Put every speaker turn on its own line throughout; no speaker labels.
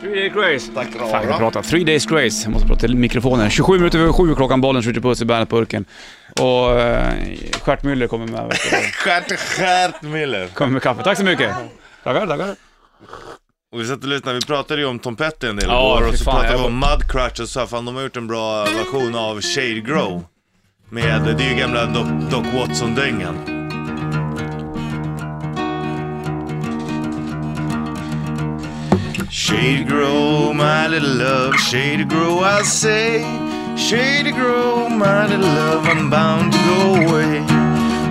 Three Days Grace.
Tack
Fan, jag kan
Rara.
prata. Three Days Grace. Jag måste prata i mikrofonen. 27 minuter över sju klockan, bollen skjuter puss i Bandet-burken. Och eh, Stjärt Müller kommer med, vet du.
Stjärt, stjärt Miller.
kommer med kaffe. Tack så mycket. Tackar, tackar.
Och vi satt och lyssnade, vi pratade ju om Tom Petty en del
Ja,
igår
fy
och så
fan,
pratade vi
jag-
om Mudcrutch och så, fan de har gjort en bra version av Shade Grow. Med, det är ju gamla Doc, Doc Watson-dängan. Shade Grow, my little love, Shade Grow I say. Shade Grow, my little love, I'm bound to go away.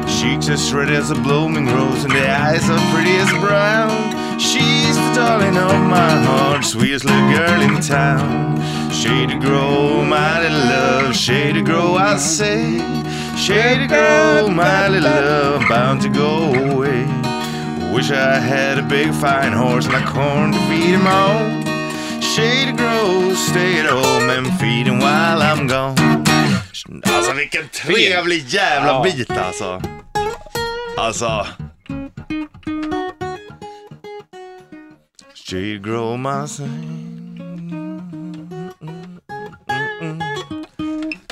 Cheeks as red as a blooming rose, and the eyes are pretty as brown. She's the darling of my heart, sweetest little girl in town. Shady grow, my little love, shady grow, I say. Shady grow, my little love, bound to go away. Wish I had a big fine horse and a corn to feed him on. Shady grow, stay at home and feed him while I'm gone. Alltså vilken trevlig jävla
Ja.
bit alltså. Alltså. She grow my sign.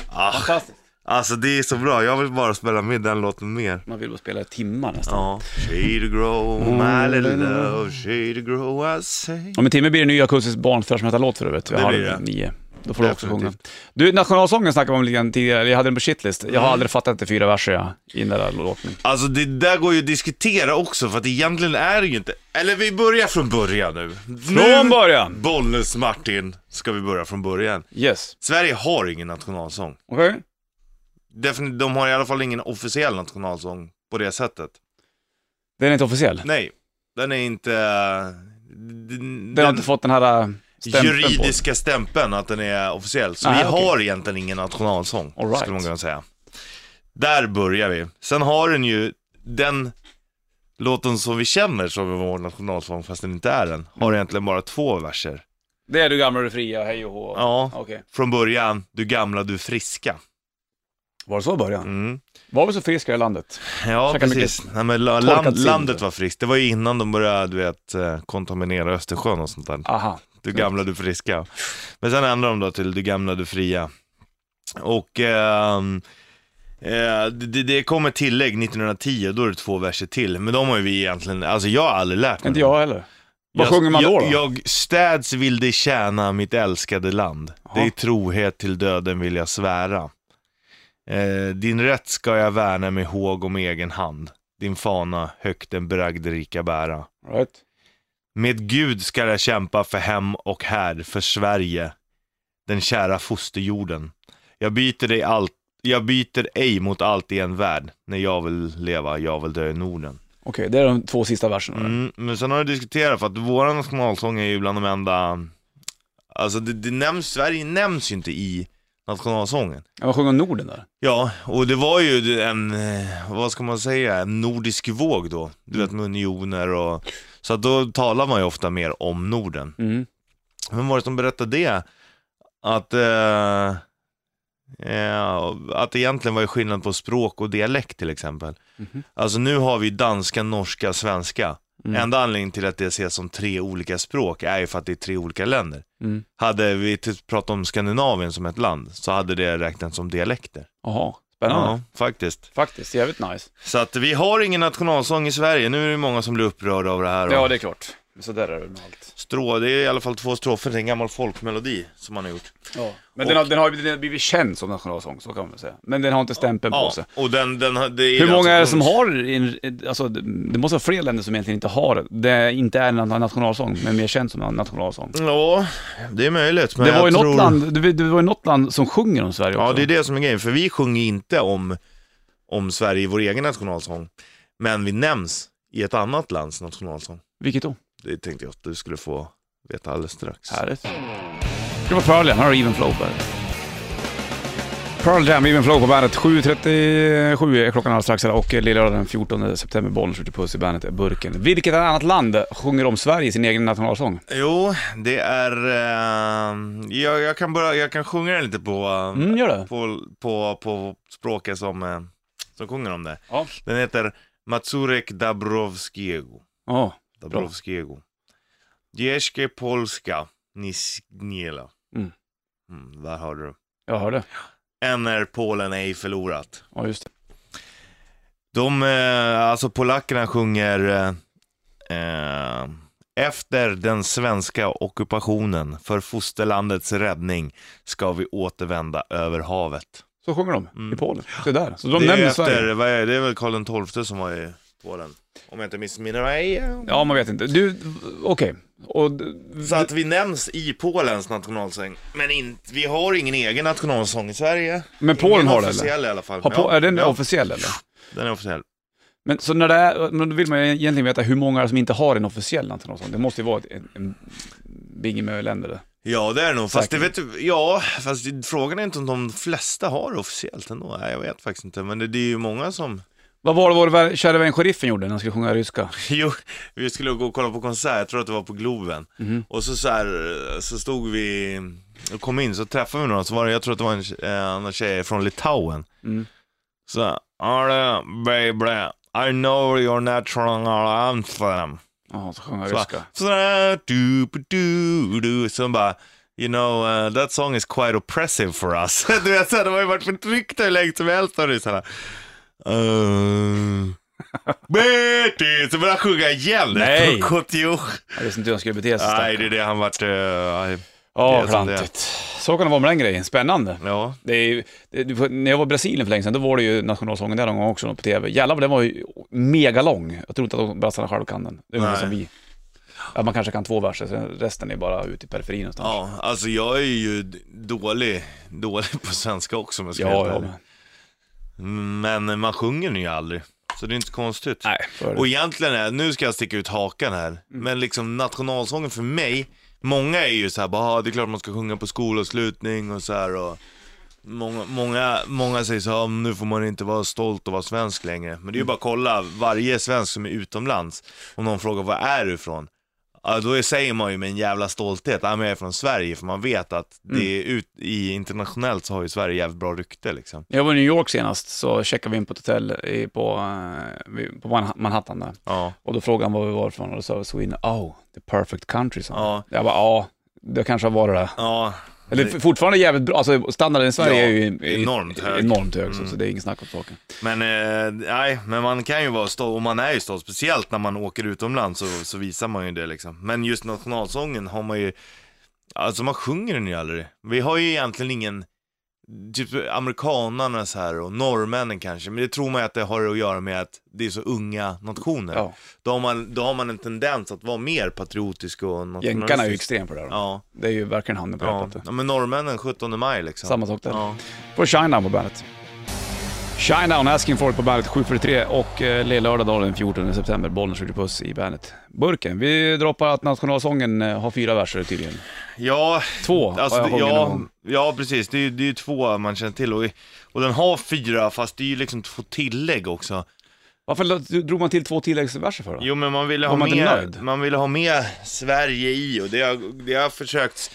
Ah,
Fantastiskt.
alltså det är så bra, jag vill bara spela med den låten mer.
Man vill bara spela i timmar nästan.
Ja. Shade grow my little love, shade grow I say.
Om en timme blir det en ny akustisk barnfräschmetalåt för övrigt.
Det
halv
blir det.
nio. Då får du också sjunga.
Definitivt. Mm.
Du, nationalsången snackade vi om lite grann tidigare. Jag hade den på shitlist. Jag har aldrig fattat att det är fyra verser ja, i den där låten.
Alltså det där går ju att diskutera också för att egentligen är det ju inte... Eller vi börjar från början nu.
Från
nu,
början!
Bollnäs Martin ska vi börja från början.
Yes.
Sverige har ingen nationalsång.
Okej?
Definitivt, de har i alla fall ingen officiell nationalsång på det sättet.
Den är inte officiell.
Nej, den är inte... eh, Den,
Den har inte fått den här äh, stämpeln på.
juridiska stämpeln att den är officiell. Så
Nej,
vi
okej.
har egentligen ingen nationalsång,
All right.
skulle man kunna säga. Där börjar vi. Sen har den ju den låten som vi känner som är vår nationalsång, fast den inte är den, har egentligen bara två verser.
Det är du gamla och du fria, hej och hå.
Ja,
Okej.
från början, du gamla, du friska.
Var det så i början?
Mm.
Var vi så friska i landet?
Ja,
Käkar
precis. Nej, men la-
torkat
land,
sill.
landet var friskt. Det var ju innan de började, du vet, eh, kontaminera Östersjön och sånt där.
Aha.
Du gamla, du friska. Men sen ändrade de då till du gamla, du fria. Och ehm, eh, det, det kom ett tillägg 1910, då är det två verser till. Men de har ju vi egentligen, alltså jag har aldrig lärt mig.
Inte
dem.
jag heller. Vad
Jag-
sjunger man då?
jag,
då?
Jag städs vill det tjäna mitt älskade land. Det är trohet till döden vill jag svära. Eh, din rätt ska jag värna med håg och med egen hand. Din fana högt den bragdrika bära.
Right.
Med Gud ska jag kämpa för hem och här, för Sverige, den kära fosterjorden. Jag byter dig allt, jag byter ej mot allt i en värld. När jag vill leva, jag vill dö i Norden.
Okej, det är de två sista verserna. där.
Mm, men sen har jag diskuterat för att vår nationalsång är ju bland de enda, alltså det, det nämns, Sverige nämns ju inte i nationalsången.
Ja, vad sjunger Norden där?
Ja, och det var ju en, eh, vad ska man säga, en nordisk våg då. Du vet med unioner och, så att då talar man ju ofta mer om Norden.
Mm.
Vem var det som berättade det? Att, eh, eh, att egentligen var det skillnad på språk och dialekt till exempel.
Mhm.
Alltså nu har vi danska, norska, svenska.
Mm.
Enda anledningen till att det ses som tre olika språk är ju för att det är tre olika länder.
Mm.
Hade vi t- pratat om Skandinavien som ett land så hade det räknats som dialekter.
Jaha, spännande.
Ja, faktiskt.
Faktiskt, jävligt nice.
Så att vi har ingen nationalsång i Sverige. Nu är det många som blir upprörda av det här.
Ja,
och
det är klart. Så där är det väl med allt.
Strå, det är i alla fall två strofer till en gammal folkmelodi som man har gjort.
Men den har, den, har, ju- den har blivit känd som nationalsång, så kan man väl säga. Men den har inte stämpeln på
Ja,
sig.
och den, den, har- det är
Hur många är det
alltså-
som har, en- alltså det måste vara fler länder som egentligen inte har, det inte är en nationalsång, men mer känd som en nationalsång.
Ja, det är möjligt. Men
det var
jag
ju
tror...
något land, det, det var ju något land som sjunger om Sverige
Ja,
också.
det är det som är grejen. För vi sjunger inte om, om Sverige i vår egen nationalsång. Men vi nämns i ett annat lands nationalsång.
Vilket då?
Det tänkte jag att du skulle få veta alldeles strax.
Härligt. Det var Pearl Jam, här har Even Flow på bandet. Pearl Jam, Even Flow på bandet. 7.37 är klockan alldeles strax här och lillördag den 14 september, bollen skjuter puss i bandet Burken. Vilket annat land sjunger om Sverige i sin egen nationalsång?
Jo, det är... Eh, jag, jag, kan börja, jag kan sjunga den lite på, eh,
Mm, gör det.
på, på, på språket som, eh, som sjunger om det.
Ja.
Den heter Mazurek Dabrowskiego.
Ja.
Dabrowskiego. Dzieszkie Polska, Nisjnjela.
Mm.
Mm, där hörde du.
Jag hörde.
Än när Polen ej förlorat.
Ja, just det.
De, eh, alltså polackerna sjunger eh, eh, Efter den svenska ockupationen för fosterlandets räddning ska vi återvända över havet.
Så sjunger de
Mm.
i Polen. Se där. Så de
det, är
nämner
efter,
Sverige.
vad är, det är väl Karl XII som var i Polen? Om jag inte missminner mig.
Ja, man vet inte. Du, okej. Och d-
Så att vi nämns i Polens nationalsång. Men in, vi har ingen egen nationalsång i Sverige.
Men Polen
ingen
har det,
officiell i alla fall.
Har på,
Ja,
är den
ja,
officiell eller?
den är officiell.
Men så när det är, men då vill man ju egentligen veta hur många som inte har en officiell nationalsång. Det måste ju vara ett, en, en bingemö-länder det.
Ja det är det nog, fast det
Säkert.
vet du, ja, fast frågan är inte om de flesta har det officiellt ändå. Nej jag vet faktiskt inte, men det, det är ju många som...
Vad var det vår vär- kära vän sheriffen gjorde när han skulle sjunga ryska?
Jo, vi skulle gå och kolla på konsert, jag tror att det var på Globen. Och så, så, här, så stod vi, och kom in, så träffade vi några, så var det, jag tror att det var en, tje- eh, annan tjej från Litauen.
Mm.
Så, "Arre, baby, I know your natural anthem.
Ja, så sjöng han
Så bara,
ryska.
sådär, du, du, du, som bara, you know, uh, that song is quite oppressive for us. du vet, så här, de har ju varit förtryckta hur länge som helst av ryssarna. Uh, Betty, så började han sjunga igen.
Nej.
Kotjo.
Jag visste inte hur han skulle bete sig.
Nej,
stackarn.
det är det han vart, uh,
Ja,
det är som det är.
klantigt. Så kan det vara med den grejen. Spännande.
ja.
Det är ju, det, du får- när jag var i Brasilien för länge sedan, då var det ju nationalsången där någon gång också på TV. Jävlar vad den var ju megalång. Jag tror inte att de- brassarna själva kan den. Det är ungefär
Nej.
som vi. Ja, man kanske kan två verser, sen resten är bara ute i periferin någonstans.
Ja, alltså jag är ju d- dålig, dålig på svenska också om jag ska
ja,
vara
ja
ärlig.
men,
Men man sjunger ju aldrig, så det är inte konstigt.
nej. så är det.
Och egentligen är, nu ska jag sticka ut hakan här, men liksom nationalsången för mig, många är ju så här, bara, "Ah, det är klart man ska sjunga på skolavslutning och så här och Många, många, många säger så här, "Ah, nu får man inte vara stolt och vara svensk längre. Men det är ju bara att kolla, varje svensk som är utomlands, om någon frågar var är du ifrån? Ja, då är- säger man ju med en jävla stolthet, ja men jag är från Sverige, för man vet att det är ut, i internationellt så har ju Sverige jävligt bra rykte liksom.
När jag var i New York senast så checkade vi in på ett hotell i, på, eh, vi- på Manha- Manhattan där.
Ja,
Och då frågade han var vi var ifrån och då sa vi Sweden. Oh, the perfect country, sa han.
ja,
Jag bara, ja, det kanske har varit det.
ja.
Eller f- fortfarande jävligt bra, alltså standarden i Sverige
Ja,
är ju
enormt hög. Mm.
enormt hög så, så det är inget snack om saken.
Men eh, nej, men man kan ju vara stolt, och man är ju stolt, speciellt när man åker utomlands så, så visar man ju det liksom. Men just nationalsången har man ju, alltså man sjunger den ju aldrig. Vi har ju egentligen ingen, typ amerikanarna så här och norrmännen kanske, men det tror man ju att det har att göra med att det är så unga nationer.
Ja.
Då, har man, då har man en tendens att vara mer patriotisk och nationalistisk.
Jänkarna är ju extrem på det där. då.
Ja,
Det är ju verkligen handen på
ja.
hjärtat. det.
ja, men norrmännen 17 maj liksom.
Samma sak där.
Ja.
På Shinedown på bandet. Shinedown, Asking for It på bandet 7.43 och eh, lördag då den 14 september, Bollnäs skjuter puss i bandet. Burken, vi droppar att nationalsången eh, har fyra verser tydligen.
ja,
Två
Alltså,
har jag
det,
sjungit någon
ja,
gång.
ja, precis. Det är, ju- det är ju två man känner till. Och, och den har fyra, fast det är ju liksom två tillägg också.
Varför la- drog man till två tilläggsverser för då?
Jo, men man ville ha,
Var man inte
med,
nöjd?
man ville ha med Sverige i och det har, det har försökt,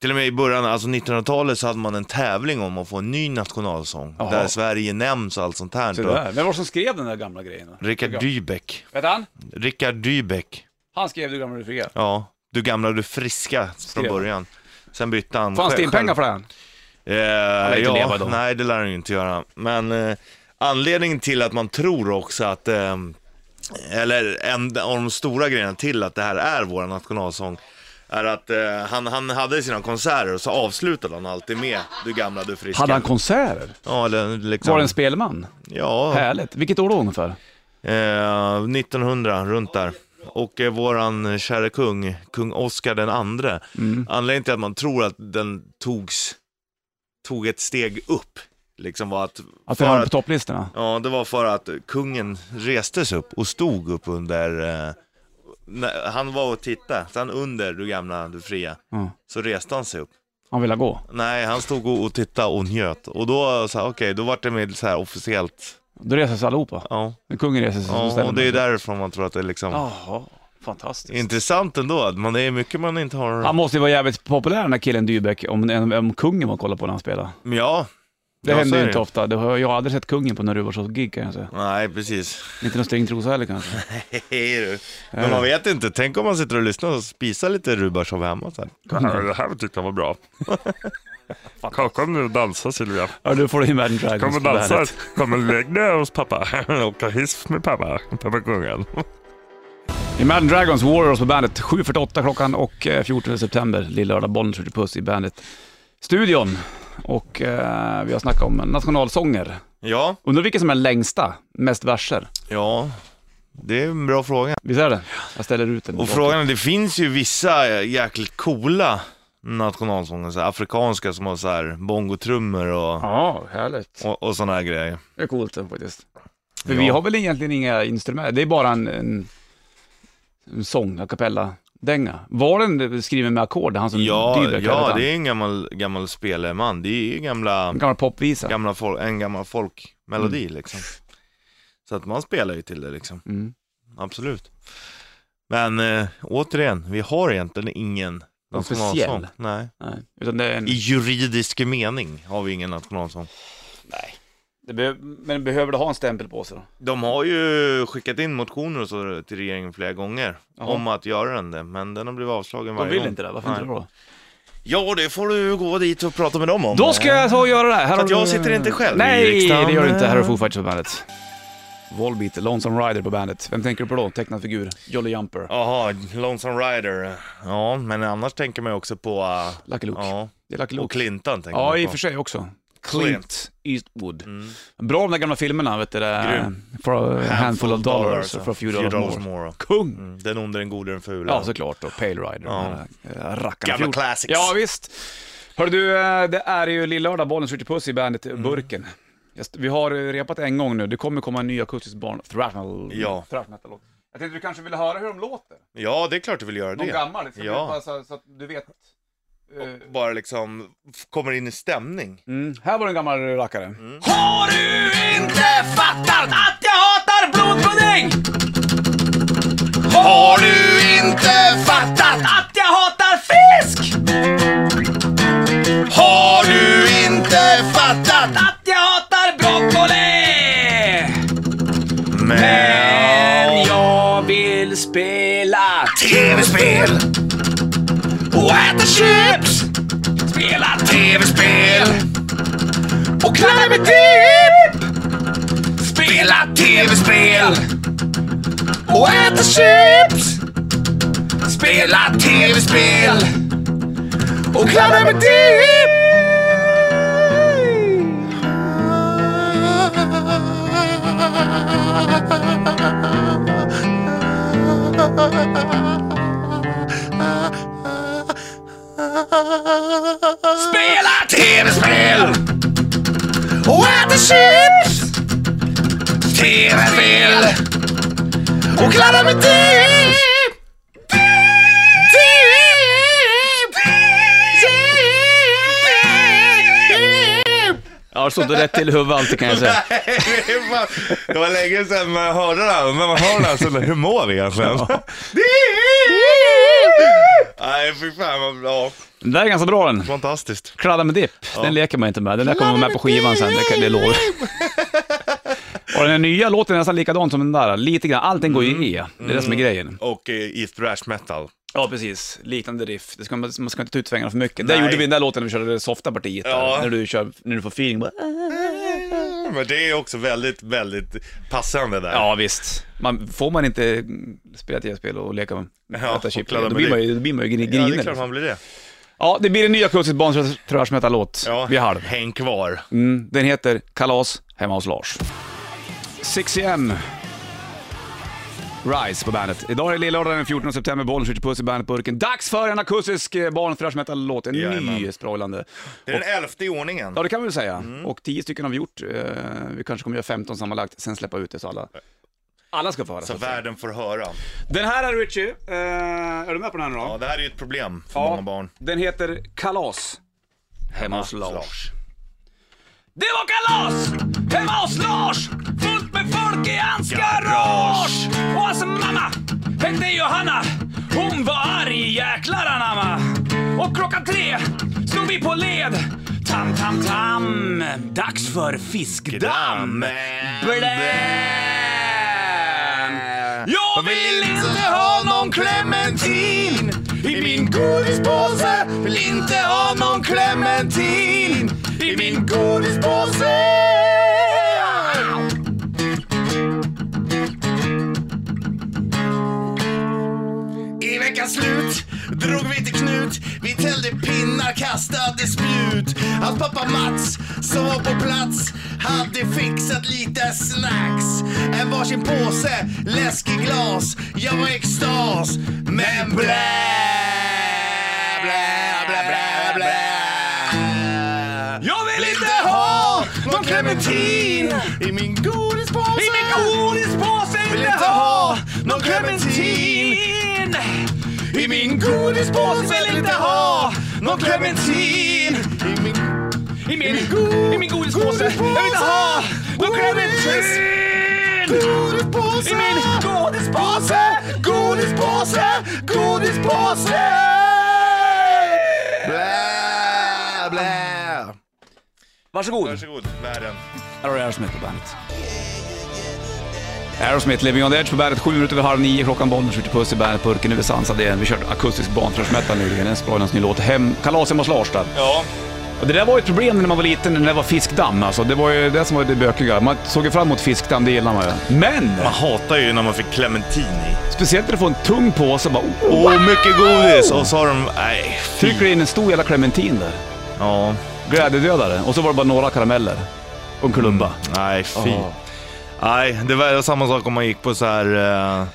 till och med i början, alltså 1900-talet så hade man en tävling om att få en ny nationalsång.
Jaha.
Där Sverige nämns och allt sånt här.
Så
Och
där. Vem var det som skrev den där gamla grejen? då?
Rickard
Tycker jag.
Dybeck.
Vet han?
Rickard Dybeck.
Han skrev Du gamla du fria.
Ja, du gamla, du friska från
Skrev han.
början. Sen bytte han.
Fanns det
själv-
in pengar för den?
Eh,
lär inte
ja,
leva då.
Nej, det lär han ju inte göra. Men eh, anledningen till att man tror också att, eh, eller en av de stora grejerna till att det här är vår nationalsång, är att eh, han, han hade sina konserter och så avslutade han alltid med Du gamla, du friska.
Hade han konserter?
Ja, eller liksom.
Var det en spelman?
Ja,
Härligt. Vilket år då ungefär?
eh, 1900, runt där. Och eh, våran käre kung, kung Oscar den andre.
Mm.
Anledningen till att man tror att den togs, tog ett steg upp, liksom var att...
Att
för
den var på topplistorna?
Ja, det var för att kungen restes upp och stod upp under... Eh, när- han var och tittade, sen under du gamla, du fria,
Ja.
så reste han sig upp.
Han ville gå.
Nej, han stod och, och tittade och njöt. Och då sa okej, då var det med så här officiellt.
Då reser sig allihopa.
Ja,
Men Kungen reser sig så
ja
ställer
och det är
man sig.
därifrån man tror att det är liksom...
Jaha, fantastiskt.
Intressant ändå, att man, det är mycket man inte har...
Han måste ju vara jävligt populär den där killen Dybeck, om, om kungen man kollar på när han spelar.
Men ja,
Det
Ja, så
händer
är
ju
det
inte
ju.
ofta. Det har, jag har aldrig sett kungen på några Rubarsås-gig kan jag säga.
Nej, precis.
Inte någon stringtrosa heller kanske.
Hej du. Men man vet inte. Tänk om man sitter och lyssnar och spisar lite Rubashov hemma sen.
Det här tyckte jag var bra. Kom, kom nu och dansa Silvia.
Ja, du får du in Imagine
Kom
Dragons
och
på
dansa.
bandet.
Kom och lägg dig hos pappa. Åka hiss med pappa. Pappa kungen.
Imagine Dragons Warriors på bandet. 7.48 klockan och eh, 14 september. Lill-lördag, Bollnäs skjuter puss i bandet-studion. Och eh, vi har snackat om nationalsånger.
Ja,
Undrar vilken som är den längsta, mest verser?
ja. Det är en bra fråga.
Visst är det? Jag ställer ut den.
Och frågan är, det finns ju vissa jäkligt coola nationalsånger, så här, afrikanska som har så här bongotrummor och,
Ja, härligt.
och, och sådana här grejer.
Det är coolt det, faktiskt. För
Ja.
vi har väl egentligen inga instrument, det är bara en, en, en sång, a cappella-dänga. Var den skriven med ackord, han som
Ja,
Dybeck?
ja Mm, det är en gammal, gammal spelman. Det är ju gamla,
En gammal popvisa.
gamla folk, en gammal folkmelodi liksom. Så att man spelar ju till det liksom,
Mm.
absolut. Men eh, återigen, vi har egentligen ingen nationalsång.
Officiell.
Nej.
Nej, utan det är en...
I juridisk mening har vi ingen nationalsång.
Nej. Det behöv- men behöver det ha en stämpel på sig då?
De har ju skickat in motioner och så till regeringen flera gånger
Jaha.
om att göra den där, men den har blivit avslagen
De
varje
vill
gång.
inte det, varför inte
Nej.
det då?
Ja, det får du gå dit och prata med dem om.
Då ska jag ta och göra det här. här.
För att
har
jag
du-
sitter inte själv i
Nej,
riksdagen.
det gör du inte. Här har Foo Fighters på bandet. Volbeat, Lonesome Rider på bandet. Vem tänker du på då? Tecknad figur, Jolly Jumper,
Jaha, Lonesome Rider. Ja, men annars tänker man ju också på... eh,
Lucky Luke.
ja,
Det är Lucky
och
Luke.
Clinton tänker
Ja,
man
i
på. Mm.
och för sig också.
Clint.
Clint Eastwood. Bra de där gamla filmerna, vet du det?
Grym.
For a handful of dollars,
ja.
for a few dollars more. Kung!
Mm. Den onde, den gode, den fula.
Ja, såklart då. Pale Rider.
Ja.
Ja. Rackarna
Gamla classics.
Ja, visst. Hör du, eh, det är ju Lill-lördag, bollen skjuter puss i bandet eh,
Mm.
Burken. Jag st- Vi har eh, repat en gång nu, det kommer komma en ny akustisk barn, thrash metal.
Ja.
Thrash metal låt. Jag tänkte du kanske ville höra hur de låter?
ja, det är klart du vill göra
Någon
det.
gammal, liksom.
Ja.
Bara så, så att du vet. eh,
Bara liksom f- kommer in i stämning.
Mm. Här var en gammal rackare.
Har du inte fattat att jag hatar blodpudding? Har du inte fattat att jag hatar fisk? Har du inte fattat att jag hatar broccoli? Men jag vill spela tv-spel och äta chips. Spela tv-spel och knalla med dipp! Spela tv-spel och äta chips! Spela tv-spel och knalla med dipp! Spela tv-spel! och äter chips. TV-spel och kladdar med dipp. Dipp. Dipp.
Ja, det står inte rätt till i huvudet alltid kan jag säga.
Det är fan- det var länge sedan man hörde det här, men man hör det här så hur mår vi egentligen? Nej, fy fan vad bra.
Den där är ganska bra den.
Fantastiskt.
Kladda med dipp, den leker man inte med. Den där kommer vara med på skivan sen, det, kan- det lovar jag. Och den nya låten är nästan likadan som den där, lite grann. Allting går
Mm.
ju i, det är det som är grejen.
Och eh, i thrash metal.
Ja, precis. Liknande riff. Det ska, man man ska inte ta ut svängarna för mycket. Det
Nej.
gjorde vi i den där låten när vi körde det softa partiet, där.
Ja.
när, du kör, när du får feeling. Bara, "Ah."
Men det är också väldigt, väldigt passande där.
ja, visst. Man, får man inte mm, spela tv-spel och leka med
Ja,
äta chip,
och kladda
då
med
blir man
dipp.
ju, då blir man ju gr- grinig.
ja det är klart
liksom.
man blir det.
ja, det blir en ny akustisk Bonds thrash metal-låt
Ja,
vid halv.
Häng kvar.
Mm, den heter Kalas hemma hos Lars. 6am. Rise på bandet. Idag är det lillördag den 14 september, bollen skjuter puss i bandetburken. Dags för en akustisk eh, barnthrash metal-låt, en ny
Jajamän.
språlande.
Det är den elfte i ordningen.
Ja, det kan vi väl säga. Och tio stycken har vi gjort. Eh, vi kanske kommer göra 15 sammanlagt, sen släppa ut det så alla, alla ska få höra. Så
Så
att säga.
världen får höra.
Den här är Richie. Eh, är du med på den här nu då?
Ja, det här är ju ett problem för många barn.
Den heter Kalas hemma hos Lars.
Det var kalas hemma hos Lars Fullt med folk i hans garage Och hans mamma hette Johanna Hon var arg jäklar anamma Och klockan tre stod vi på led Tam, tam, tam. Dags för fiskdamm. Bläm! Jag vill inte ha någon clementin i min godispåse. Vill inte ha någon clementin i min godispåse.
I veckans slut drog vi till Knut. Vi tällde pinnar, kastade spjut. Hans pappa Mats, som var på plats, hade fixat lite snacks. En varsin påse, läsk i glas. Jag var i extas, men blä, blä, blä, blä, blä.
Jag vill
Inte ha någon clementin i min godispåse.
I min godispåse
Vill inte ha någon clementin.
clementin.
I min godispåse vill inte ha någon clementin I min
I min, i min godispåse. Jag vill inte ha någon clementin.
godispåse
I min godispåse.
godispåse, godispåse Blä, blä
Varsågod.
Varsågod, världen
Här har du Aerosmith på bandet. Aerosmith, Living on the Edge på bandet. Sju minuter över halv nio, klockan Bollnäs, skjuter puss i bandet, burken över sansad igen. Vi körde akustisk barntrashmetal nyligen, en sprojlans ny låt. Hem, kalas hemma hos Lars där.
Ja,
Och det där var ju ett problem när man var liten, när det var fiskdamm alltså. Det var ju det som var det bökiga. Man såg ju fram emot fiskdamm, det gillar man ju. Men!
man hatar ju när man fick clementin i
Speciellt när du får en tung påse och bara... Oh,
Åh, mycket godis! Och så har de, nej, fy
Trycker in en stor jävla clementin där.
Ja,
Glädjedödare. Och så var det bara några karameller. Och en klubba.
nej fy Nej, det var samma sak om man gick på så här... eh,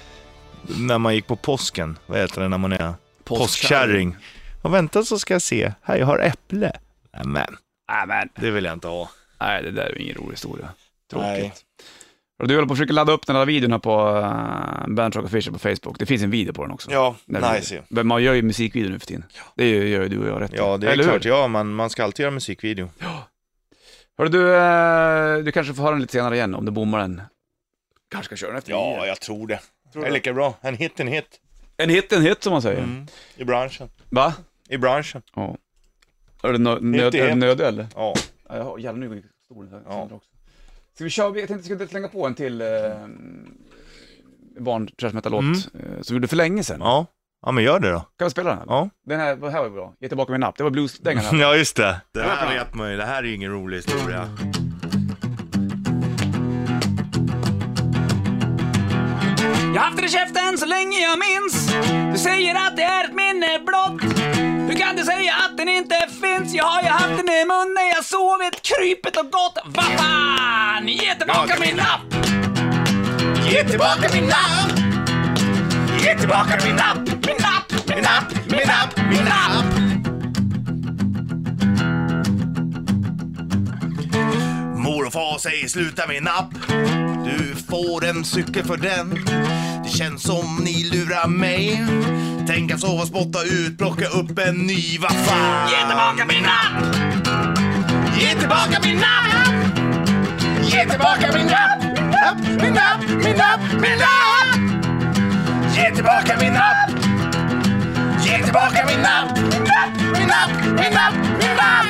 när man gick på påsken. Vad heter det när man är påskkärring? Och vänta så ska jag se. Här, jag har äpple. Nämen,
Nämen.
det vill jag inte ha.
Nej, det där är ju ingen rolig historia.
Nej.
Tråkigt. Och du håller på att försöka ladda upp den här videon här på uh, Band Rock Official på Facebook. Det finns en video på den också.
Ja,
Den här videon. Men man gör ju musikvideo nu för tiden. Det gör ju gör ju du och jag rätt i.
Ja, det är
Eller hur?
klart. Ja, man, man ska alltid göra musikvideo.
Hörru du, eh, du kanske får höra den lite senare igen om du bommar den. Kanske ska köra den efter nio.
jag tror det. det Mm. är lika bra. En hit, en hit.
En hit, en hit som man säger.
I branschen.
Va?
I branschen.
Ja. Är det nö- nöd,
Hit i
är det
hit.
nödöl?
Ja.
Ja, jag har- jävlar nu går stolen här
Ja.
sönder också. Ska vi köra, jag tänkte att jag skulle slänga på en till eh, barn trash metal-låt eh, som vi gjorde för länge sedan.
Mm. Ja. Ja, men gör det då.
Kan vi spela den? Här?
Ja.
Den här, den här var ju bra. Ge tillbaka min napp. Det var bluesdängan här.
Ja, just det. Det här vet man ju. Det här är ju ingen rolig historia.
Jag har haft det i käften så länge jag minns. Du säger att det är ett minne blott. Hur kan du säga att den inte finns? Jag har ju haft den i munnen, jag sovit krypet och gått. Vad fan! Ge tillbaka min lapp! Ge tillbaka min lapp! Ge tillbaka min lapp! Min lapp! Min lapp! Min lapp! Min lapp!
Mor och far säger sluta med napp. Du får en cykel för den. Det känns som ni lurar mig. Tänk att sova, spotta ut, plocka upp en ny. Vad fan?
Ge tillbaka min lapp!
Ge tillbaka min napp! Ge tillbaka min napp! Min napp, min napp, min napp, min napp! Ge tillbaka min napp! Ge tillbaka min napp! Min napp, min napp, min napp, min napp!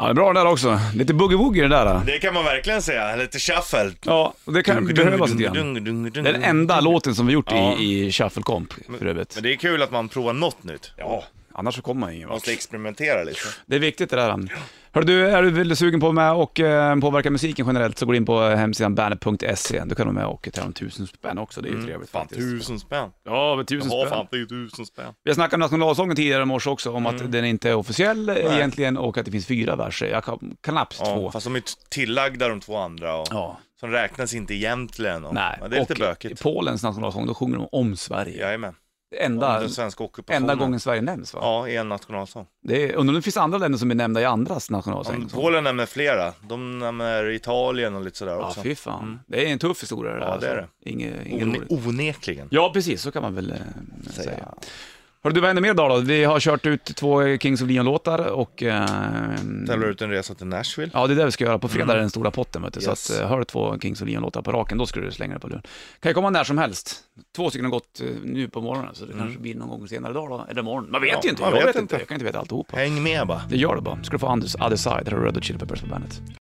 Ja, det är bra den där också. Lite boogie-woogie den där.
Det kan man verkligen säga. Lite shuffle.
Ja, och det kan behövas lite grann. Det är den
Den
enda låten som vi gjort
Mm. Ja.
i, i Shuffle Comp för övrigt.
Men det är kul att man provar något nytt.
Ja, annars så kommer man ingen
Man
vart.
måste experimentera lite.
Det är viktigt det där. Hör du, är du väldigt sugen på att vara med och eh, påverka musiken generellt så gå in på eh, hemsidan bandet.se. Du kan vara med och ta en tusen spänn också, det är ju trevligt
Mm. Fan,
faktiskt.
tusen spänn.
Ja, men tusen
Ja,
spänn.
fan, det är ju tusen spänn.
Vi har snackat om nationalsången tidigare i morse också, om
Mm.
att den inte är officiell egentligen och att det finns fyra verser. Jag kan knappt två.
Ja, fast de är ju tillagda de två andra och
Ja,
som räknas inte egentligen. Och,
nej.
Ja, det är lite
och
bökigt.
Polens nationalsång, då sjunger de om Sverige.
Jajamän.
Enda,
Om den svenska ockupationen.
enda gången Sverige nämns va?
Ja, i en nationalsång.
Det är, undrar om det finns andra länder som är nämnda i andras nationalsång?
Om Polen nämner flera. De nämner Italien och lite sådär
Ja,
också.
fy fan. Det är en tuff historia det där.
Liksom. Mm. Ja, det är
alltså. Inge, ingen
One-
roligt.
onekligen.
Ja, precis, så kan man väl eh, säga. Hörru du, vad händer mer idag då? Vi har kört ut två Kings of Leon-låtar och... Eh,
Tävlar ut en resa till Nashville.
ja, det är det vi ska göra. På fredag är den stora potten vet du.
Yes.
Så att, eh, hör två Kings of Leon-låtar på raken, då ska du slänga det på luren. Kan ju komma när som helst. Två stycken har gått eh, nu på morgonen, så det kanske blir någon gång senare idag då, eller imorgon. Man vet
Mm. Ja,
ju inte,
man
jag
vet
vet inte.
inte.
Jag kan inte veta alltihopa.
Häng med bara.
Det gör det bara. Ska du få Anders Other Side, här har du Red Hot Chili Peppers på bandet.